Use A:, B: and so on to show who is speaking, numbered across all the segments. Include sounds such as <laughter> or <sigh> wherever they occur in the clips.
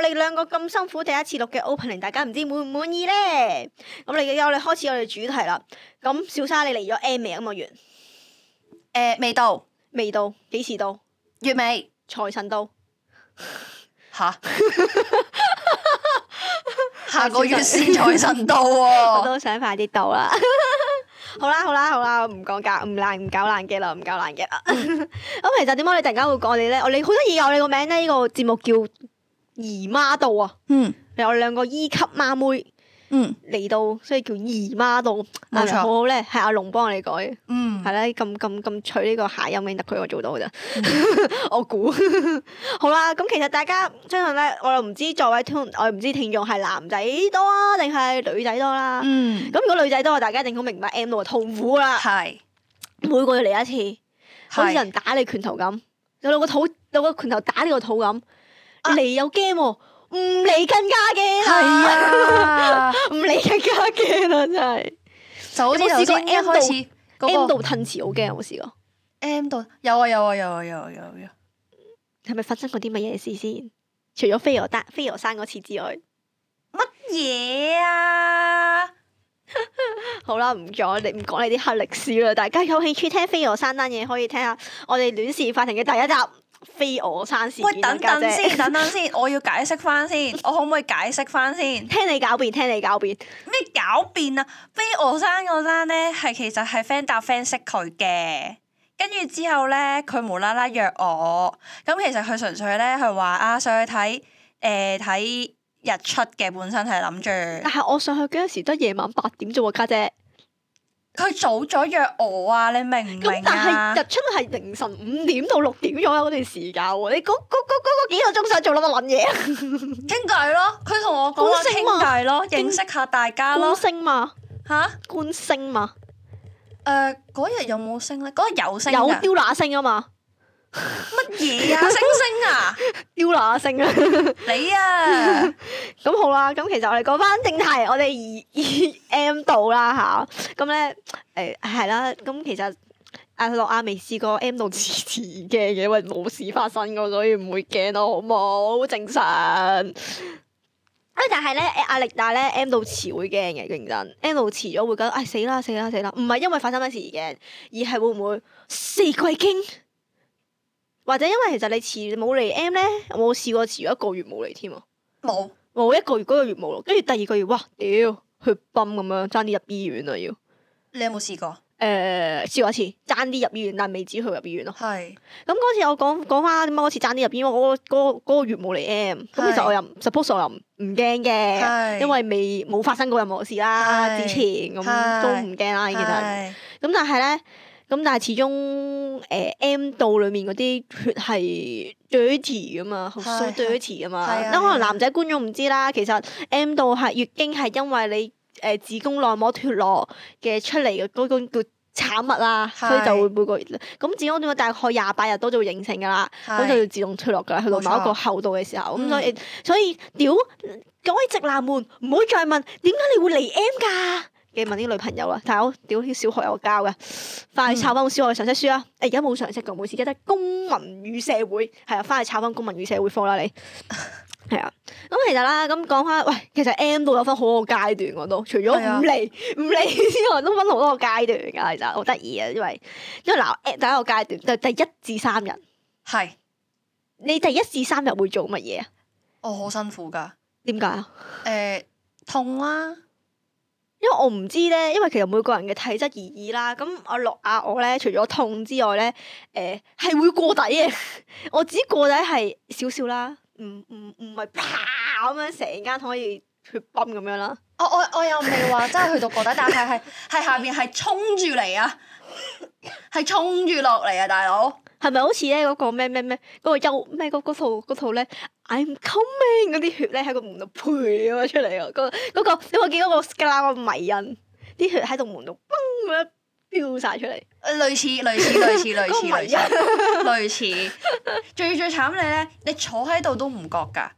A: 哋兩個咁辛苦第一次錄嘅 opening，大家唔知滿唔滿意咧？咁嚟嘅我哋開始我哋主題啦。咁小沙你嚟咗 M 未啊？咁個月
B: 誒呃未到
A: 未到，幾時到？
B: 月 <laughs> 尾
A: 財神到，
B: 哦吓，下個月先財神到
A: 我
B: 喎。
A: 都想快啲到啦。 <laughs> 好啦好啦好啦，唔講搞唔爛唔搞爛嘅啦，唔搞爛嘅啦。 <laughs> 咁其實點解你突然間會講我哋咧？我哋好得意啊！我哋個名咧，呢個節目叫姨媽到啊！
B: 嗯
A: 有兩個 E 級孖妹
B: 嗯
A: 嚟到，所以叫姨媽到，
B: 冇錯
A: 好好咧，係阿龍幫我哋改嘅。
B: 嗯
A: 係啦，咁咁咁取呢個諧音嘅特佢我做到嘅啫，<laughs>
B: 嗯
A: 我估好啦。咁其實大家相信咧，我又唔知作位聽，我又唔知聽眾係男仔多啊，定係女仔多啦。
B: 嗯，
A: 咁如果女仔多，大家一定好明白 M 到嘅痛苦㗎啦。
B: 係
A: 每個月嚟一次，好似有
B: 嗯係
A: 人打你拳頭咁，有兩個肚有個拳頭打呢個肚咁，嚟又驚喎，唔嚟更加驚
B: 啊係啊，
A: <laughs> 唔理更加驚啦，真係。
B: <laughs> 就好似頭先一
A: 有冇試過 M
B: 開始
A: M
B: 嗰個
A: 度吞詞好驚，有冇試過？
B: M 度有啊有啊有啊有啊有啊有啊，
A: 係咪發生過啲乜嘢事先？除咗飛鵝單、飛鵝山嗰次之外，
B: 乜嘢啊？
A: 好啦，唔講你唔講你啲黑歷史啦。大家有興趣聽飛鵝山單嘢，可以聽下我哋《戀事法庭》嘅第一集《飛鵝山事件》啊
B: 喂，等
A: 家姐
B: 等先，等等先，我要解釋翻先，我可唔可以解釋翻先？
A: 聽你狡辯，聽你狡辯，
B: 咩狡辯啊？飛鵝山嗰單咧，啊係其實係 friend 搭 friend 識佢嘅，跟住之後咧，佢無啦啦約我，咁其實佢純粹咧係話啊上去睇誒睇日出嘅，本身係諗住
A: 但係我上去嗰陣時得夜晚八點啫喎，家姐。
B: 佢早咗約我啊，你明唔
A: 咁
B: 明啊
A: 但係？日出係凌晨五點到六點左右嗰段時間喎，你嗰嗰嗰嗰嗰幾個鐘想做乜撚嘢啊？
B: 傾偈咯，佢同我講話
A: 好醒目
B: 傾偈咯，
A: 勁
B: 認識下大家
A: 觀
B: 咯
A: 星嘛，
B: 吓？
A: 觀星嘛。
B: 誒嗰日有冇星咧？嗰日有星
A: 有
B: 㗎
A: 雕乸星啊嘛，
B: 乜嘢啊？星星啊！
A: 雕乸星啊，
B: 你啊！
A: 咁好啦，咁其實我哋講翻正題，我哋二二 M 度啦吓，咁咧誒係啦，咁其實阿樂亞未試過 M 度遲遲嘅嘢，喂冇事發生過，所以唔會驚咯，好冇正常。啊！但係咧，誒壓力大咧，M 到遲會驚嘅，認真。M 到遲咗會覺得，唉、死啦死啦死啦！唔係因為發生咩事而驚，而係會唔會四季經？或者因為其實你遲冇嚟 M 咧，我試過遲咗一個月冇嚟添啊！
B: 冇
A: 冇一個月嗰個月冇咯，跟住第二個月，哇，屌，去泵咁樣，爭啲入醫院啦啊要。誒、呃
B: 你有冇試過？
A: 試過一次，爭啲入醫院，但未至於去入醫院咯。
B: 係
A: 咁嗰次我講講翻點解嗰次爭啲入醫院，我嗰、嗰個嗰個月冇嚟 M，咁其實
B: 係
A: 我又唔 suppose 我又唔唔驚嘅，
B: 係
A: 因為未冇發生過任何事啦，
B: 係
A: 之前咁
B: 係
A: 都唔驚啦，其實。
B: 係
A: 咁但係咧，咁但係始終誒、呃 M 道裡面嗰啲血係 dirty 噶嘛，好
B: 係
A: so
B: 係
A: dirty 噶嘛。
B: 係啊
A: 咁可能
B: 係啊
A: 男仔觀眾唔知啦，其實 M 道係月經係因為你誒、呃子宮內膜脱落嘅出嚟嘅嗰種叫產物啦，
B: 係
A: 所以就會每個月咁子宮點解大概廿八日都就會形成㗎啦，咁就要自動脱落㗎啦，去到
B: 冇
A: 某一個
B: 錯
A: 厚度嘅時候，咁
B: 嗯
A: 所以所以屌各位直男們，唔好再問點解你會嚟 M 㗎嘅問啲女朋友啦，啊但係我屌啲小學有教嘅，
B: 嗯
A: 快去抄翻本小學嘅常識書啦！誒而家冇常識㗎，每次而家得公民與社會，係啊，翻去抄翻公民與社會科
B: <laughs>
A: 啦你。係啊，咁其實啦，咁講翻，喂，其實 M 度有分好多個階段我都，除咗
B: 係啊
A: 唔嚟唔嚟之外，都分好多個階段㗎，其實好得意啊，因為因為嗱，第一個階段就第一至三日。
B: 係，
A: 你第一至三日會做乜嘢啊？
B: 我哦好辛
A: <laughs>
B: 苦噶。
A: 點解啊？
B: 誒痛啦，
A: 因為我唔知咧，因為其實每個人嘅體質而異啦。咁我落下我咧，除咗痛之外咧，誒、係會過底嘅。 <laughs> 我只過底係少少啦，唔唔唔係啪咁樣成間可以血崩咁樣啦。
B: 我我我又未話真係去到過底，但係係係下邊係衝住嚟啊，係衝住落嚟啊，大佬。
A: 係咪好似咧嗰個咩咩咩嗰個幽咩嗰嗰套嗰套咧？I'm coming 嗰啲血咧喺個門度配咁樣出嚟啊！嗰、個嗰、個你有冇見嗰個 s c a 個迷因啲血喺度門度崩咁樣飆晒出嚟？
B: 類似類似類似類
A: 嗰個
B: 似
A: 迷
B: 類
A: 因
B: 似。類似，最最慘你咧，你坐喺度都唔覺㗎，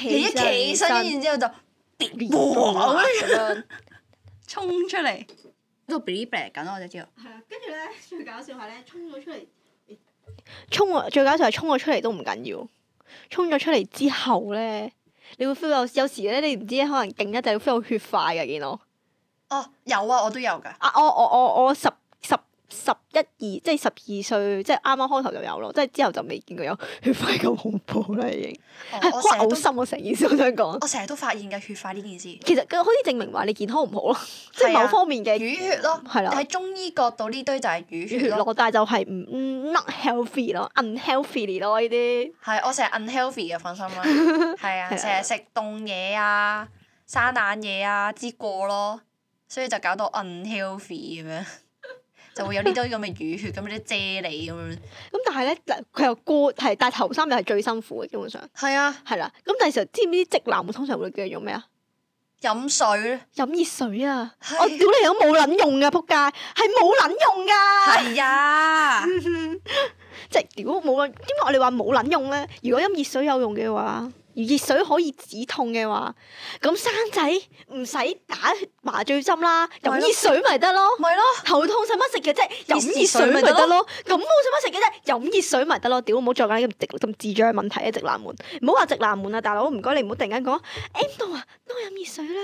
B: 你一企起身，然之後就
A: 變
B: 哇
A: 咁樣。
B: 衝出嚟，喺度 b l 緊我就知道。
A: 係啊，跟住咧最搞笑係咧，衝咗出嚟，衝啊！最搞笑係衝咗出嚟都唔緊要，衝咗出嚟之後咧，你會 feel 到有時咧，你唔知可能勁一就會 feel 到血塊嘅見我。
B: 哦，有啊，我都有噶。
A: 啊！我我我我十十十一二，即係十二歲，即係啱啱開頭就有咯，即係之後就未見過有血塊咁恐怖啦，已經
B: 哦
A: 係
B: 我
A: 好
B: 成日
A: 嘔
B: 都哦
A: 心啊！成件事我想講，
B: 我成日都發現嘅血塊呢件事，
A: 其實佢可以證明話你健康唔好咯，即係
B: 係啊
A: 某方面嘅
B: 淤血咯。
A: 係啦
B: 喺中醫角度呢堆就係淤
A: 血 <laughs>
B: 血咯。
A: 咯，但係就係唔唔 not healthy 咯，unhealthy 咯呢啲。
B: 係，我成日 unhealthy 嘅，放心啦。
A: <laughs>
B: 係
A: 係
B: 啊，
A: 啊
B: 成日食凍嘢啊、生冷嘢啊之過咯，所以就搞到 unhealthy 咁樣， <laughs> 就會有呢堆咁嘅淤血，咁啲啫喱咁樣。
A: 咁但係咧，嗱佢又過係，但係頭三日係最辛苦嘅，基本上
B: 係啊，
A: 係啦。咁但係其實知唔知啲直男通常會叫你做咩啊？
B: 飲水
A: 飲熱水啊！
B: 係
A: 我屌你都冇撚用啊噶，仆街係冇撚用㗎。
B: 係啊，
A: 即係屌冇啊！點解我哋話冇撚用咧？如果飲熱水有用嘅話，而熱水可以止痛嘅話，咁生仔唔使打麻醉針啦，飲
B: 咪咯
A: 熱水咪得咯。
B: 咪咯，
A: 頭痛使乜食嘅啫？
B: 熱
A: 飲熱水咪
B: 熱水咪
A: 得
B: 得
A: 咯。感冒使乜食嘅啫？飲熱水咪得咯。屌，唔好再講呢啲咁直咁智障嘅問題啊！直男們，唔好話直男們啊，大佬唔該你唔好突然間講 M 度啊，多飲熱水啦。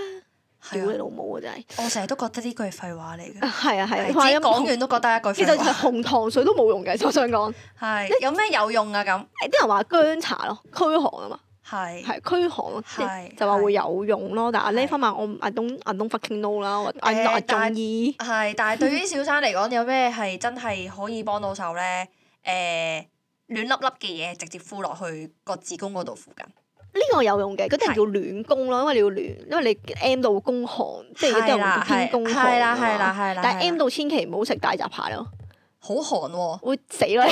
A: <laughs> 屌你
B: 係啊，
A: 老母啊！真係
B: 我成日都覺得呢句係廢話嚟嘅，
A: 係啊係啊，
B: 係
A: 話
B: 自己
A: 飲
B: 講
A: 紅
B: 完都覺得一句
A: 其實
B: 廢
A: 係
B: 話。
A: 紅糖水都冇用嘅，我想講。
B: 係有咩有用啊？咁
A: 誒啲人話薑茶咯，驅寒啊嘛，
B: 係
A: 係驅寒咯，即係
B: 係
A: 就話
B: 係
A: 會有用咯。但係呢
B: 係
A: 方面我唔 I don't I don't fucking know 啦，我 I'm
B: 誒
A: not a
B: 但係
A: 中醫
B: 係，但係對於小生嚟講，有咩係真係可以幫到手咧？誒、暖粒粒嘅嘢直接敷落去個子宮嗰度附近。
A: 呢個有用嘅，嗰啲人
B: 係
A: 叫暖宮咯，因為你要暖，因為你 M 到宮寒，即係有啲人會叫偏宮寒啊
B: 係啦，
A: 㗎嘛
B: 係啦，係啦。
A: 但係
B: 係
A: M
B: 啦
A: 到千祈唔好食大閘蟹咯，
B: 好寒喎，
A: 會死
B: <laughs>
A: 咯，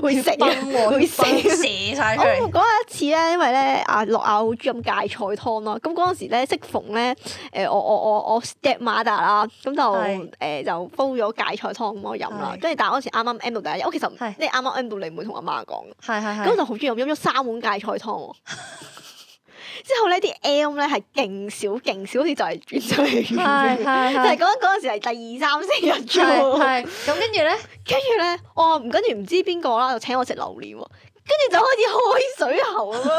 A: 會死
B: 血崩喎，
A: 會啊
B: 血
A: <laughs>
B: 崩
A: 死
B: 射晒出
A: 我
B: 嚟。
A: 嗰一次咧，因為咧啊落亞好中意飲芥菜湯咯，咁嗰陣時咧適逢咧誒、我我我我 step mother 啦，咁就誒
B: 係、
A: 就煲咗芥菜湯咁我飲啦，
B: 係
A: 跟住但係嗰陣時啱啱 M 到第一日，我其實
B: 係
A: 即係啱啱 M 到你唔會同阿媽講嘅，
B: 係係
A: 咁我就好中意飲飲咗三碗芥菜湯喎。
B: <laughs>
A: 之後咧啲 M 咧係勁少勁少，好似就係轉咗嚟完 <laughs>
B: 係
A: 嘅。
B: 係
A: 就係嗰嗰陣時係第二三四日啫喎。
B: 係咁跟住咧，
A: 跟住咧，我話唔跟住唔知邊個啦，就請我食榴蓮喎。跟住就開始開水喉咁
B: 哦
A: 樣，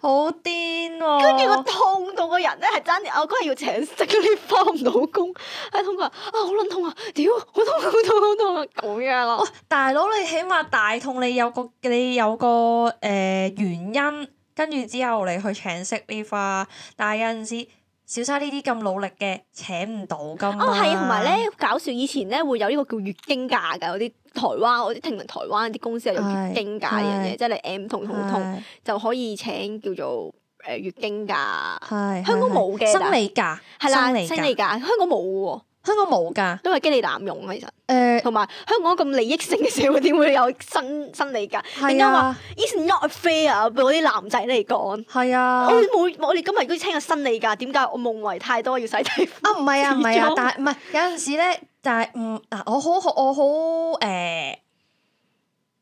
B: 好癲
A: 跟住個
B: 喎！
A: 痛到個人咧係爭啲，我哦嗰日要請職啲翻唔到工，係痛佢話啊好撚痛啊，屌好痛好痛好痛啊咁樣咯
B: 哇。，大佬你起碼大痛，你有個你有個誒、呃原因，跟住之後你去請息呢花，但係有陣時小生呢啲咁努力嘅請唔到噶嘛。
A: 哦係啊，同埋，咧搞笑，以前咧會有呢個叫月經假㗎，有啲台灣我啲聽聞台灣啲公司係有月經假呢樣嘢，
B: 係
A: 即係你 M 痛痛痛就可以請叫做誒月經假，
B: 係
A: 香港冇嘅但
B: 生理假，
A: 係啦
B: 生理
A: 生理
B: 假，
A: 假，香港冇喎，
B: 香港冇㗎。
A: 因為機你濫用啊其實。
B: 誒
A: 同埋香港咁利益性嘅社會點會有新新理㗎？點
B: 係
A: 解話
B: 啊
A: is not fair 對我啲男仔嚟講？
B: 係啊
A: 我。冇，我哋今日都聽個新理㗎，點解我夢遺太多要洗底褲？
B: 啊，唔
A: <laughs>
B: 係啊，唔係啊
A: 始終，
B: 但係唔係有陣時咧，但係唔嗱，我好好我好誒、呃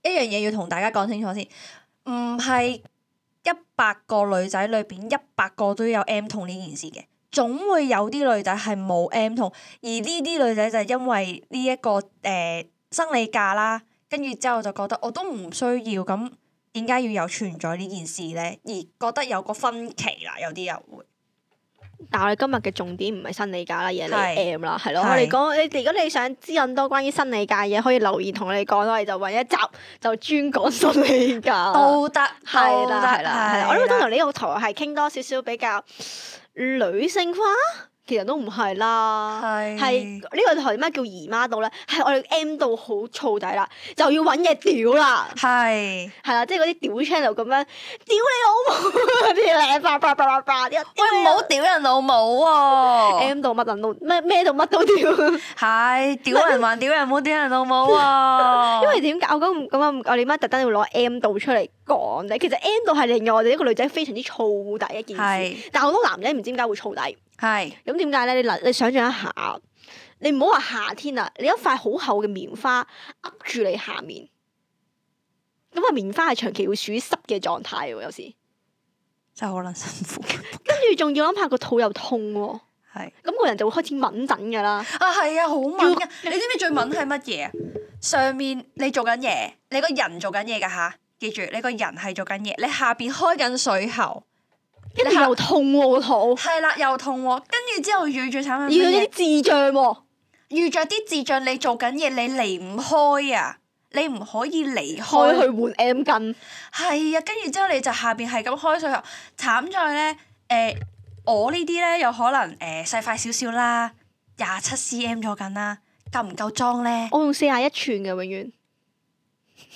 B: 一樣嘢要同大家講清楚先，唔係一百個女仔裏邊一百個都有 M 痛呢件事嘅，總會有啲女仔係冇 M 痛，而呢啲女仔就係因為呢、一個誒、呃生理假啦，跟住之後就覺得我都唔需要咁。點解要有存在呢件事咧？而覺得有個分歧啦，有啲人會
A: 但係我哋今日嘅重點唔係新理㗎啦，而係你
B: 係
A: M 啦，係咯。
B: 係
A: 我哋講，你如果你想知更多關於新理㗎嘅嘢，可以留言同我哋講，我哋就揾一集就專講新理
B: <laughs>
A: 㗎。
B: 都得，
A: 係
B: 都
A: 啦，
B: 得
A: 係啦，係啦。我
B: 係
A: 諗
B: 啦
A: 通常呢個台係傾多少少比較女性化，其實都唔係啦。
B: 係
A: 係呢個台咩叫姨媽度咧？係我哋 M 到好燥底啦，就要揾嘢屌啦，
B: 係。
A: 係啦，即係嗰啲屌 channel 咁樣，屌你老母嗰啲咧，叭叭叭叭叭，一
B: 喂，唔好屌人老母喎！ <laughs>
A: M 到乜撚到咩咩到乜都屌，
B: 係屌人還屌人，唔好屌人老母 <laughs> 喎！
A: 因為點解我咁咁啊？我哋媽特登要攞 M 到出嚟講咧，其實 M 到係令我哋一個女仔非常之燥底一件事，
B: 係
A: 但係好多男仔唔知點解會燥底，
B: 係
A: 咁點解咧？你嗱，你想象一下，你唔好話夏天啊，你一塊好厚嘅棉花噏住你下面，咁啊棉花係長期會處於濕嘅狀態喎，有時，
B: 真係好撚辛苦。 <laughs>
A: 跟住仲要諗下個肚又痛喎，
B: 係
A: 咁個人就會開始敏感㗎啦，
B: 啊，係啊，好敏啊！你知唔知最敏係乜嘢啊？上面你做緊嘢，你個人做緊嘢㗎吓，記住你個人係做緊嘢，你下邊開緊水喉，
A: 跟住又痛喎個
B: <laughs>
A: 肚，
B: 係啦又痛喎，跟住之後遇最慘係
A: 要
B: 乜
A: 啲
B: 嘢？
A: 智障喎，
B: 遇着啲智障，你做緊嘢你離唔開啊！你唔可以離
A: 開
B: 開，
A: 去換 M 巾，
B: 係啊！跟住之後你就下邊係咁開水喉，慘在咧誒、我呢啲咧有可能誒、細塊少少啦，廿七 cm 咗緊啦，夠唔夠裝咧？
A: 我用四廿一寸嘅永遠，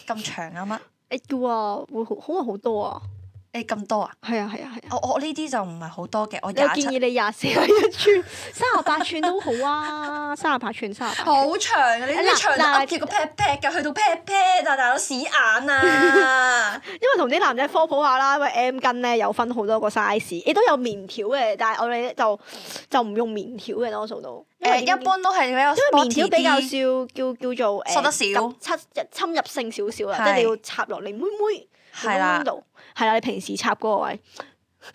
B: 咁長啊乜？
A: 誒要啊，會好可能好多啊，
B: 你咁多啊？
A: 係啊係啊係啊。
B: 我我呢啲就唔係好多嘅，我
A: 我
B: 廿
A: 建
B: 七
A: 議你廿四係一寸，三十八寸都好啊，三十八寸三十八。
B: 好長嘅，你
A: 嗱
B: 啲長
A: 嗱
B: 到住個 pat pat 㗎，去到 pat pat 啊，大佬屎眼啊！
A: 因為同啲男仔科普下啦，因為 M 巾咧有分好多個 size，亦都有棉條嘅，但係我哋就就唔用棉條嘅多數都。因為
B: 誒，
A: 點解
B: 一般都係比較
A: 因為棉條
B: sporty
A: 比較
B: 啲，
A: 少叫叫做誒，
B: 索得少
A: 侵侵入性少少啦，
B: 係
A: 即係你要插落你妹妹個
B: 係啦
A: 窿，度，係啦，你平時插嗰個位， <laughs>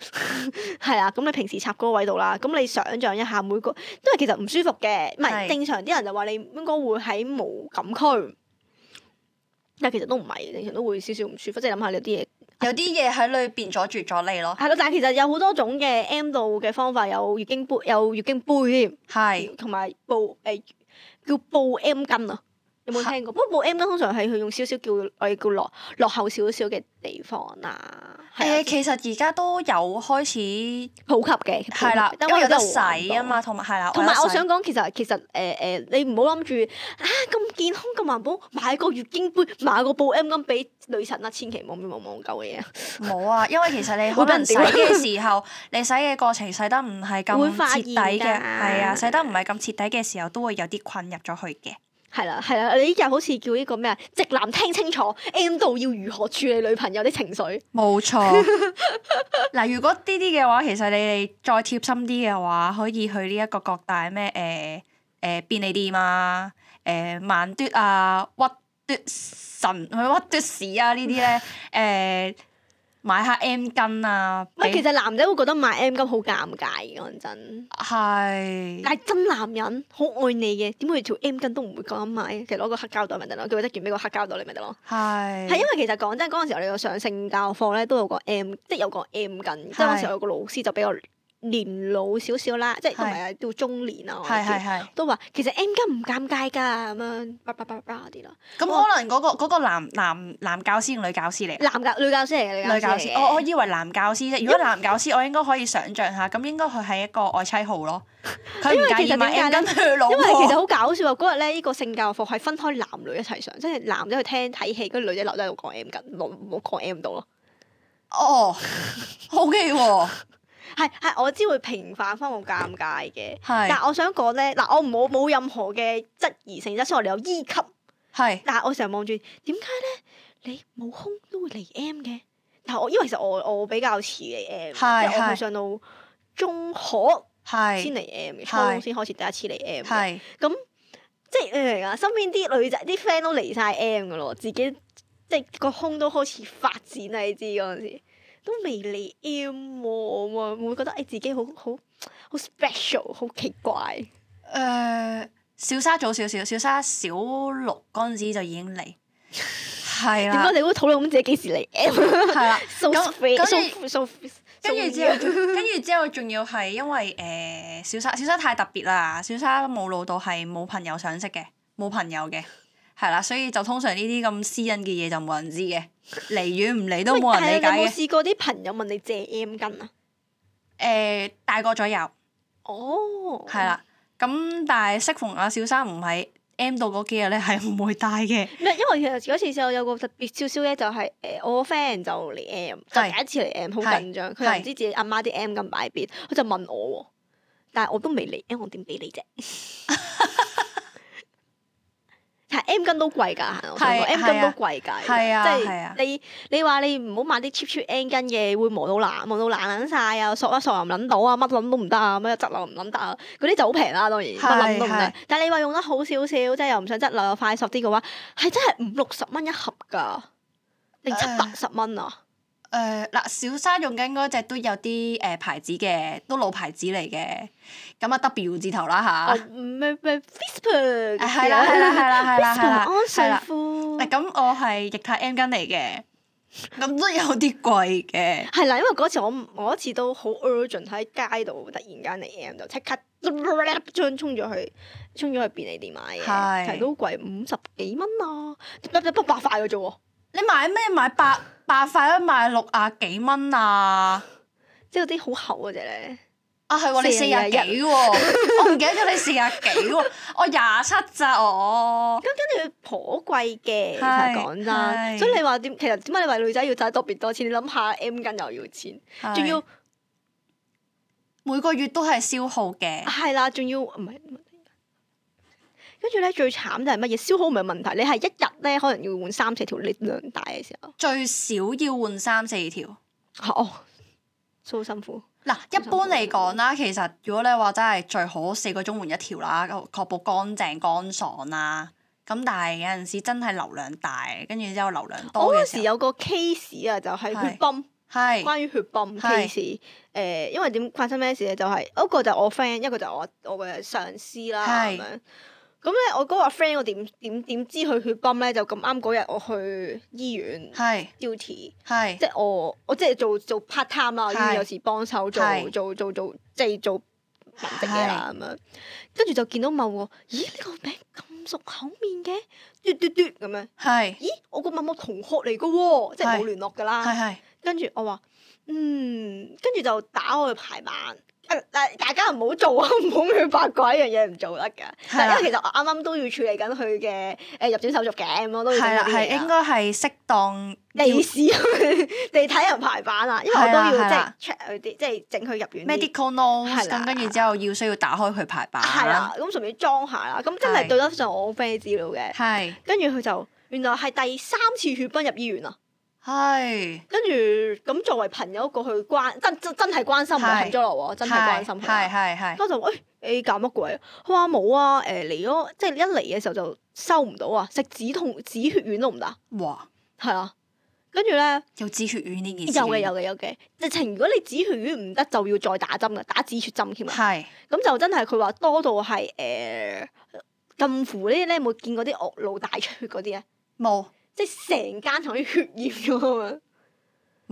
A: 係啦，咁你平時插嗰個位度啦，咁你想像一下每個，因為其實唔舒服嘅，唔係
B: 係
A: 正常啲人就話你應該會喺無感區，但係其實都唔係，正常都會少少唔舒服，即係諗下你有啲嘢。
B: 有啲嘢喺裏邊阻住咗你咯。
A: 係咯，但係其實有好多種嘅 M 度嘅方法，有月經杯，有月經杯
B: 係
A: 添，同埋布誒、叫布 M 巾啊，有冇聽過？不過布 M 巾通常係佢用少少叫我哋叫落落後少少嘅地方啦，係啊
B: 誒，其實而家都有開始
A: 普及嘅，普及
B: 係啦，因
A: 但
B: 為有得
A: 真係玩唔
B: 洗啊嘛，同埋係啦，
A: 到。同埋
B: 有得
A: 我
B: 洗
A: 想講，其實其實誒誒、你唔好諗住啊咁健康咁環保，買個月經杯，買個布 M 巾俾女神啦，千祈唔好咁戇鳩嘅嘢，
B: 冇啊，因為其實你
A: 會
B: 可
A: 俾
B: 能
A: 人
B: 洗
A: 屌
B: 嘅時候，你洗嘅過程洗得唔係
A: 會
B: 咁
A: 發
B: 徹底嘅，
A: 現㗎
B: 係啊，洗得唔係咁徹底嘅時候，都會有啲困入咗去嘅。
A: 係啦，係啦，你呢日好似叫呢個咩啊？直男聽清楚，M 度要如何處理女朋友啲情緒？
B: 冇錯。
A: <laughs>
B: 嗱，如果呢啲嘅話，其實你哋再貼心啲嘅話，可以去呢一個各大咩誒誒便利店啊、誒、萬嘟啊、屈嘟神、屈嘟士啊呢啲
A: <laughs>
B: 咧誒買下 M 巾啊，
A: 唔係，其
B: 俾
A: 實男仔會覺得買 M 巾好尷尬嘅，講真。
B: 係
A: 但係真男人好愛你嘅，點會條 M 巾都唔會咁樣買？其實攞個黑膠袋咪得咯，叫佢得完俾個黑膠袋你咪得咯。係因
B: 係
A: 為其實講真，嗰陣時我哋有上性教課咧，都有個 M，即係有個 M 巾。即係嗰陣時有個老師就比較年老少少啦，即係都唔係啊叫中年啊，我
B: 係
A: 哋
B: 係
A: 叫
B: 係。
A: 都話其實 M 巾唔尷尬㗎咁樣，叭叭叭叭嗰啲咯。
B: 咁
A: 我
B: 可能嗰、個嗰、個男男男教師定女教師嚟？
A: 男教女教師嚟嘅，
B: 女教
A: 嚟
B: 師，哦
A: 嘅
B: 我我以為男教師啫。如果男教師，我應該可以想像下，咁應該佢係一個愛妻號咯。
A: <laughs>
B: 佢唔
A: 因為
B: 介
A: 其
B: 意
A: 實
B: 買
A: 點
B: M
A: 解
B: 巾佢老
A: 因為其實
B: 婆。
A: 好搞笑啊！嗰日咧，呢個性教育課係分開男女一齊上，即係男仔去聽睇戲，跟住女仔留低喺度講 M 緊，冇冇講 M 到咯。
B: 哦，O K 喎，
A: 係係，我知會平反翻個尷尬嘅。但
B: 係
A: 係我想講咧，嗱，我冇冇任何嘅質疑性質，雖然我哋有 E 級，
B: 係
A: 但係我成日望住點解咧，你冇胸都會嚟 M 嘅？但係我因為其實我我比較遲嚟 M，即
B: 係
A: 係我係
B: 係
A: 上到中學先
B: 係
A: 嚟 M 嘅，初
B: 係
A: 中先開始第一次嚟 M 嘅。
B: 係
A: 咁即係你明唔明啊？身邊啲女仔啲 friend 都離晒 M 噶咯，自己即係個胸都開始發展啦，你知嗰陣時都未嚟 M 喎，我會覺得哎誒自己好好好 special，好奇怪。
B: 誒，小沙早少少，小沙小六嗰陣時就已經
A: <laughs>
B: 嚟，係
A: 點解
B: 啦，
A: 你會討論咁自己幾時嚟 M？
B: 係啦。
A: so
B: 咁
A: free,
B: 咁
A: so
B: 你
A: free, so free, so
B: 跟住
A: <laughs>
B: 之後，啊跟住之後仲要係因為誒、呃小沙小沙太特別啦，小沙冇老到係冇朋友想識嘅，冇朋友嘅，係啦，所以就通常呢啲咁私隱嘅嘢就冇人知嘅，離遠唔嚟都冇人理
A: 喂但係你有冇
B: 解嘅。
A: 試過啲朋友問你借 M 巾啊？
B: 誒、呃大個咗有，
A: 哦，
B: 係。啦，咁但係適逢阿小沙唔喺 M 到嗰幾日咧，係唔會帶嘅。
A: 唔係，因為其實嗰次就有個特別少少咧，就係、誒、我個 friend 就嚟 M，就
B: 係
A: 第一次嚟 M，好
B: 係
A: 緊張，佢又唔知自己阿媽啲 M 咁擺喺邊，佢就問我喎，但係我都未嚟 M，我點俾你啫？ <laughs> 但係 M 巾都貴㗎，我想講
B: 係
A: M
B: 係
A: 巾
B: 啊
A: 都貴㗎，
B: 係啊
A: 即
B: 係啊
A: 係你你話你唔好買啲 cheap cheap M 巾嘅，會磨到爛磨到爛撚晒啊，索一索又唔撚到啊，乜撚都唔得啊，乜質漏唔撚得啊，嗰啲就好平啦，當然乜撚都唔
B: 係係
A: 得。但係你話用得好少少，即係又唔想質量又快速啲嘅話，係真係五六十蚊一盒㗎，定七八十蚊啊！
B: 誒呃嗱、小沙用緊嗰只都有啲誒、呃牌子嘅，都老牌子嚟嘅，咁啊 W 字頭啦吓。 <laughs>
A: 哦咩咩 Whisper
B: 係啦係啦係啦係啦係啦
A: 安
B: 係
A: 睡
B: 啦。
A: 褲
B: 嗱，咁我係液態 M 巾嚟嘅，咁都有啲貴嘅。
A: 係啦，因為嗰次我唔我嗰次都好 urgent 喺街度，突然間嚟 M 就即刻將衝咗去衝咗去便利店買
B: 係
A: 嘅，係都貴五十幾蚊啊，得得百塊嘅啫喎，
B: 你買咩買八八塊都賣六啊幾蚊啊？
A: 即係嗰啲好厚嗰只咧，
B: 啊係喎，你四
A: 四
B: 廿
A: 廿一
B: 幾喎，我唔記得咗你四廿幾喎，我廿七咋我。
A: 跟住頗貴嘅，其
B: 係
A: 實講真，
B: 係
A: 所以你話點？其實點解你話女仔要賺特別多錢？你諗下 M 巾又要錢，仲要
B: 係每個月都係消耗嘅，
A: 係啦，仲要唔係？跟住咧最慘就係乜嘢？消耗唔係問題，你係一日咧可能要換三四條你量大嘅時候，
B: 最少要換三四條。
A: 哦，真係好辛苦。
B: 嗱，一般嚟講啦，其實如果你話真係最好四個鐘換一條啦，確保乾淨乾爽啦。咁但係有陣時真係流量大，跟住之後流量
A: 我
B: 多
A: 嗰
B: 嘅
A: 時
B: 時候，
A: 有個 case 啊，就係
B: 係
A: 血泵，
B: 係
A: 關於血泵
B: 係
A: case。誒，因為點發生咩事咧？就係一個就我 friend，一個就我我嘅上司啦
B: 係
A: 咁樣。咁咧，我嗰個 friend 我點點點知佢血泵咧？就咁啱嗰日我去醫院
B: 係
A: duty，
B: 係
A: 即係我我即係做做 part time 啦，我已
B: 係
A: 經有時幫手做
B: 係
A: 做做做即係做文職嘢啦咁樣。跟住就見到某個，咦呢個名咁熟口面嘅，嘟嘟嘟咁樣。
B: 係
A: 咦，我個某某同學嚟嘅喎，即係
B: 係
A: 冇聯絡㗎
B: 係
A: 啦。
B: 係
A: 跟住我話，嗯，跟住就打我去排版。誒誒大家唔好做啊！ <laughs> 唔好亂八卦呢樣嘢唔做得㗎。
B: 係
A: 但
B: 啦
A: 因為其實我啱啱都要處理緊佢嘅誒入境手續嘅，咁我都要
B: 係啦，
A: 整嗰啲
B: 係
A: 嘢啊啦
B: 應該係適當要
A: 地 <laughs> 市地睇人排版啊，因為我
B: 係
A: 都
B: 啦
A: 要
B: 係
A: 即係
B: 啦
A: check 佢啲，即係整佢入院啲
B: medical notes，
A: 係啦
B: 咁跟住之後要需要打開佢排版，
A: 係啦，咁順便裝下啦。咁真
B: 係
A: 係對得上我 friend 資料嘅。
B: 係
A: 跟住佢就原來係第三次血崩入醫院啊！
B: 係
A: 跟住咁作為朋友過去關真真真係關心，唔
B: 係
A: 係幸咗落喎，真係關心佢啊
B: 係
A: 啦。
B: 係係
A: 咁我就誒你搞乜鬼啊？佢話冇啊，誒嚟咗即係一嚟嘅時候就收唔到啊，食止痛止血丸都唔得啊，
B: 係哇！
A: 係啊。跟住咧。
B: 有止血丸呢件事
A: 有嘅有嘅有嘅，直情如果你止血丸唔得，就要再打針嘅，打止血針添啊。
B: 係
A: 咁就真係佢話多到係誒近乎呢啲咧，有冇見過啲惡路大出血嗰啲啊？
B: 冇
A: 即係成間同啲血染咗啊咁樣。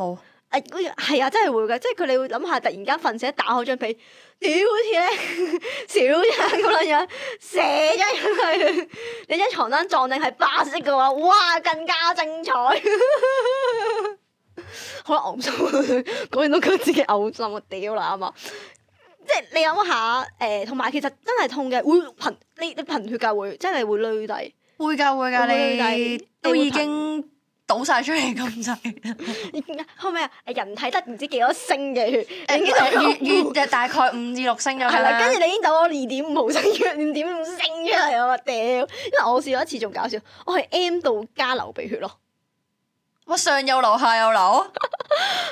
B: 冇
A: 誒嗰樣係啊，真係會㗎，即係佢哋會諗下，突然間瞓醒打開張被，屌好似咧 <laughs> 小人咁樣樣射咗入去，你張床單撞定係白色嘅話，哇更加精彩！ <laughs> 好啦，嘔心， <laughs> 講完都覺得自己嘔心啊！屌啦啱啊！即係你諗下，誒、同埋其實真係痛嘅，會貧你你貧血㗎會，真係會累底。
B: 會㗎會㗎，
A: 會㗎
B: 你
A: 你
B: 都
A: 會
B: 已經倒晒出嚟咁
A: <laughs>
B: 滯，
A: 後尾啊，人體得唔知幾多升嘅血，已經
B: 誒月月大概五至六升
A: 係
B: 咗㗎
A: 啦，
B: 啦，
A: 跟住你已經到我二點五毫升嘅五點五升出嚟，我屌！因為我試過一次仲搞笑，我係 M 到加流鼻血咯，
B: 哇上有流下有流，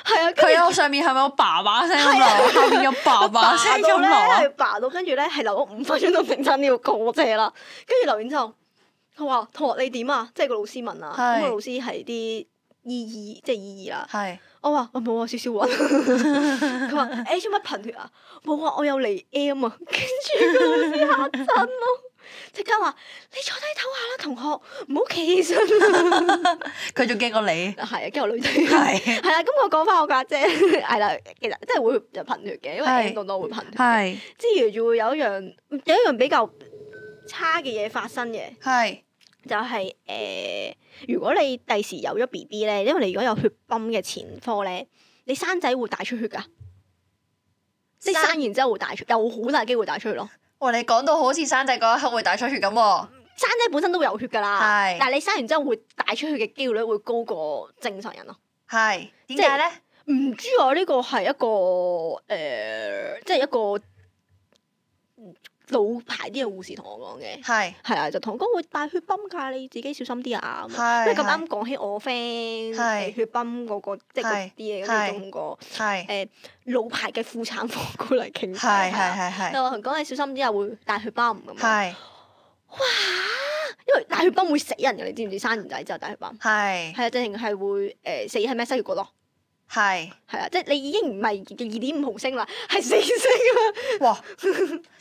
A: 係啊，跟
B: 佢
A: 住
B: 有上面係咪有爸爸聲咁流，下面有爸爸聲
A: 到
B: 咁
A: 咧
B: 流啊
A: 係？拔到，跟住咧係留咗五分鐘 <laughs> 都整親呢個過車啦，跟住留完之後，佢話同學你點啊？即係個老師問啊，
B: 係
A: 咁個老師係啲醫醫即係醫醫啦，
B: 係
A: 我話我冇啊，少少
B: <laughs>
A: 暈。佢話：誒做乜貧血啊？冇啊，我有嚟 M 啊。跟住佢老師嚇親咯，即刻話：你坐低唞下啦，同學，唔好企起身啦。
B: 佢仲驚過你，
A: 係啊，跟住我女仔
B: 係
A: 係啦。咁我講翻我家姐係啦，其實真係會有貧血嘅，因為
B: 係
A: M 到多會貧血嘅。
B: 係
A: 之餘仲會有一樣有一樣比較差嘅嘢發生嘅，
B: 係
A: 就係、呃如果你第時有咗 B B 咧，因為你如果有血泵嘅前科咧，你生仔會大出血㗎。即係
B: 生
A: 生完之後會大出，有好大機會大出血咯。
B: 哇！你講到好似生仔嗰一刻會大出血咁喎，
A: 生仔本身都會有血㗎啦，
B: 係
A: 但係你生完之後會大出血嘅機會率會高過正常人咯。
B: 係
A: 即
B: 點解
A: 係
B: 咧？
A: 唔知啊，呢個係一個誒、呃即係一個老牌啲嘅護士同我講嘅。
B: 係
A: 係啊，就同我講會大血泵㗎，你自己小心啲啊咁樣。因
B: 係
A: 為咁啱講起我 friend
B: 係
A: 誒血泵嗰個即係
B: 係
A: 嗰啲嘢，
B: 係
A: 跟住仲個
B: 係
A: 誒老牌嘅婦產科過嚟傾偈，
B: 係係
A: 啊
B: 係係
A: 就話同佢講你小心啲啊，會大血泵咁樣。
B: 係
A: 因為大血泵會死人嘅，你知唔知？生完仔之後大血泵
B: 係
A: 係啊，直情係會誒死喺咩失血過多，
B: 係，
A: 係啊，即係你已經唔係二點五毫升啦，係四星
B: 哇，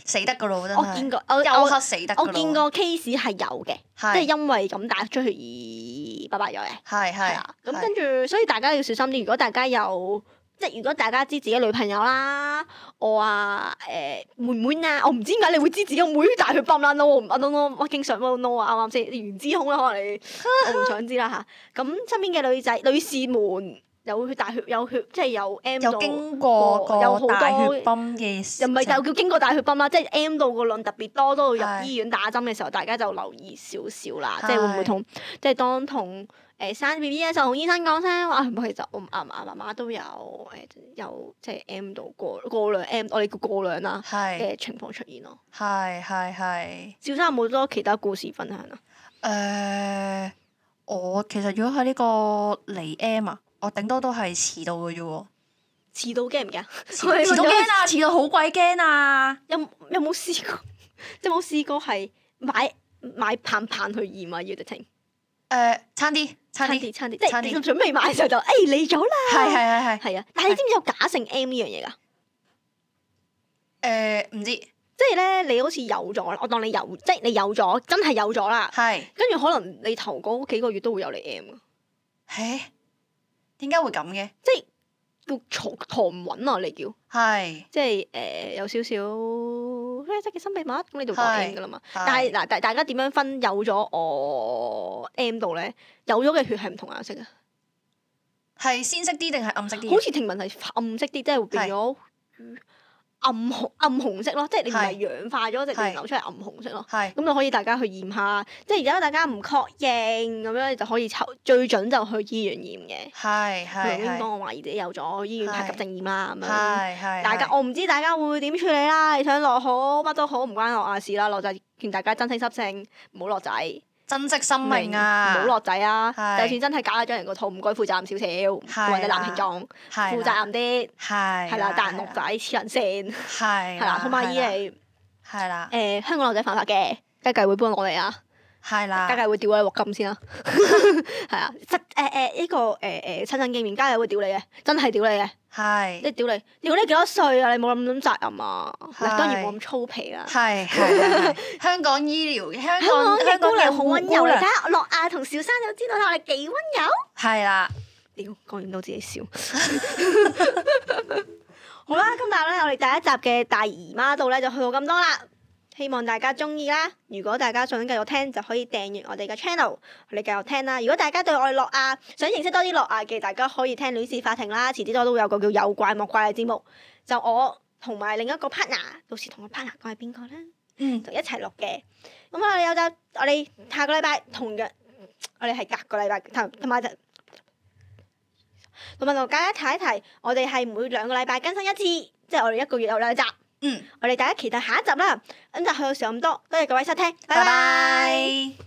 B: 死得噶咯，真
A: 啦。我見
B: 係，
A: 過，我
B: 休
A: 我
B: 克死得㗎咯
A: 我見，過 case 係有嘅，即係
B: 係
A: 因為咁打出血而拜拜咗嘅。
B: 係
A: 係
B: 係
A: 啊，咁跟住，所以大家要小心啲。如果大家有即係如果大家知自己女朋友啦，我啊誒、妹妹啊，我唔知點解你會知自己個妹大血泵啦，no 我唔 no no，我經常 no no 啊，啱唔啱先？你原知空啦，可能
B: <laughs>
A: 你我唔想知啦吓，咁身邊嘅女仔女士們有血大血有血，即係有 M 到
B: 有，經過
A: 有好
B: 個
A: 多
B: 大血泵嘅，
A: 又唔係就叫經過大血泵啦，即係 M 到個量特別多，都要
B: 係
A: 入醫院打針嘅時候，大家就留意少少啦，即係會
B: 係
A: 唔會同即係當同誒生 B B 嘅時候，同醫生講聲話，唔好其實我阿阿媽媽都有誒有即係 M 到過過量 M，我哋叫過量啦
B: 係
A: 嘅情況出現咯。
B: 係係係。
A: 趙生有冇多其他故事分享啊？
B: 誒、呃我其實如果喺呢個嚟 M 啊，我頂多都係遲到嘅啫喎。
A: <laughs> 遲到驚唔驚？
B: 遲到驚啊！遲到好鬼驚啊！
A: <laughs> 有有冇試過？ <laughs> 即係冇試過係買買棒棒去驗啊？要直情
B: 誒、呃差啲，差
A: 差
B: 啲，
A: 啲差啲，即係
B: 差啲
A: 你準備買嘅時候就誒嚟咗啦。
B: 係係係係。
A: 係啊，但係你知唔知有假性 M 呢樣嘢㗎？
B: 誒，呃唔知
A: 即係咧，你好似有咗，我當你有，即係你有咗，真係有咗啦。
B: 係，
A: 跟住可能你頭嗰幾個月都會有你 M 㗎
B: 誒，點解會咁嘅？
A: 叫坐坐唔穩啊，你叫
B: 係
A: 即係誒、呃有少少咩即嘅新秘密，咁你就講
B: 係
A: M 㗎啦嘛。但係嗱，大大家點樣分有咗我 M 度咧？有咗嘅血係唔同顏色嘅，啊
B: 係鮮色啲定係暗色啲？啊
A: 好似聽聞係暗色啲，即係會變咗暗紅暗紅色咯，即係你唔係
B: 係
A: 氧化咗，直接
B: 係
A: 流出嚟暗紅色咯。
B: 係
A: 咁就可以大家去驗下，即係而家大家唔確認咁樣，你就可以抽最準就去醫院驗嘅。
B: 係係
A: 咁應
B: 係
A: 該我懷疑自己有咗醫院拍急症驗啦咁樣。
B: 係係。
A: 大家我唔知大家會點處理啦，你想落好乜都好，唔關我啊事啦。落就勸大家珍惜濕性，唔好落仔，
B: 珍惜生命啊！
A: 唔好落仔啊！
B: 係
A: 就算真係搞咗人個肚，唔該負責任少少，
B: 係
A: 或者男
B: 啦
A: 聽眾
B: 係
A: 負
B: 啦
A: 責任啲，
B: 係
A: 係啦，但落
B: 係
A: 仔黐人線，
B: 係
A: 係啦，同埋以
B: 係啦
A: 嚟
B: 係啦
A: 誒香港落仔犯法嘅，家計會幫我哋啊！家
B: 係啦
A: 計會屌你鑊金
B: <laughs>
A: 先啦，係啊，實誒誒呢個誒誒親身經驗，家計會屌你嘅，真係屌你嘅，
B: 係
A: 即係屌你，屌你幾多歲啊？你冇咁諗責任啊！嗱，
B: 係
A: 當然冇咁粗皮啦。
B: 係係係係香港醫療，香
A: 香港
B: 港
A: 嘅
B: 香港
A: 姑娘
B: 嘅
A: 好
B: 好啊
A: 温柔，
B: 姑
A: 你
B: 娘
A: 睇下樂亞同小生就知道啦，我哋幾温柔。
B: 係啦，
A: 屌，講完到自己笑。好啦，今集咧我哋第一集嘅大姨媽度咧就去到咁多啦，希望大家中意啦。如果大家想繼續聽，就可以訂閱我哋嘅 channel，我哋繼續聽啦。如果大家對我哋樂亞想認識多啲樂亞嘅，大家可以聽《戀事法庭》啦，遲啲我都會有個叫有怪莫怪嘅節目，就我同埋另一個 partner，到時同個 partner 講係邊個啦，
B: 嗯，
A: 就一齊錄嘅。咁我哋有集，我哋下個禮拜同樣，我哋係隔個禮拜同同埋就同埋同大家提一提，我哋係每兩個禮拜更新一次，即係我哋一個月有兩集。
B: 嗯，
A: 我哋大家期待下一集啦。咁就去到時候咁多，多謝各位收聽，拜
B: 拜
A: 拜
B: 拜。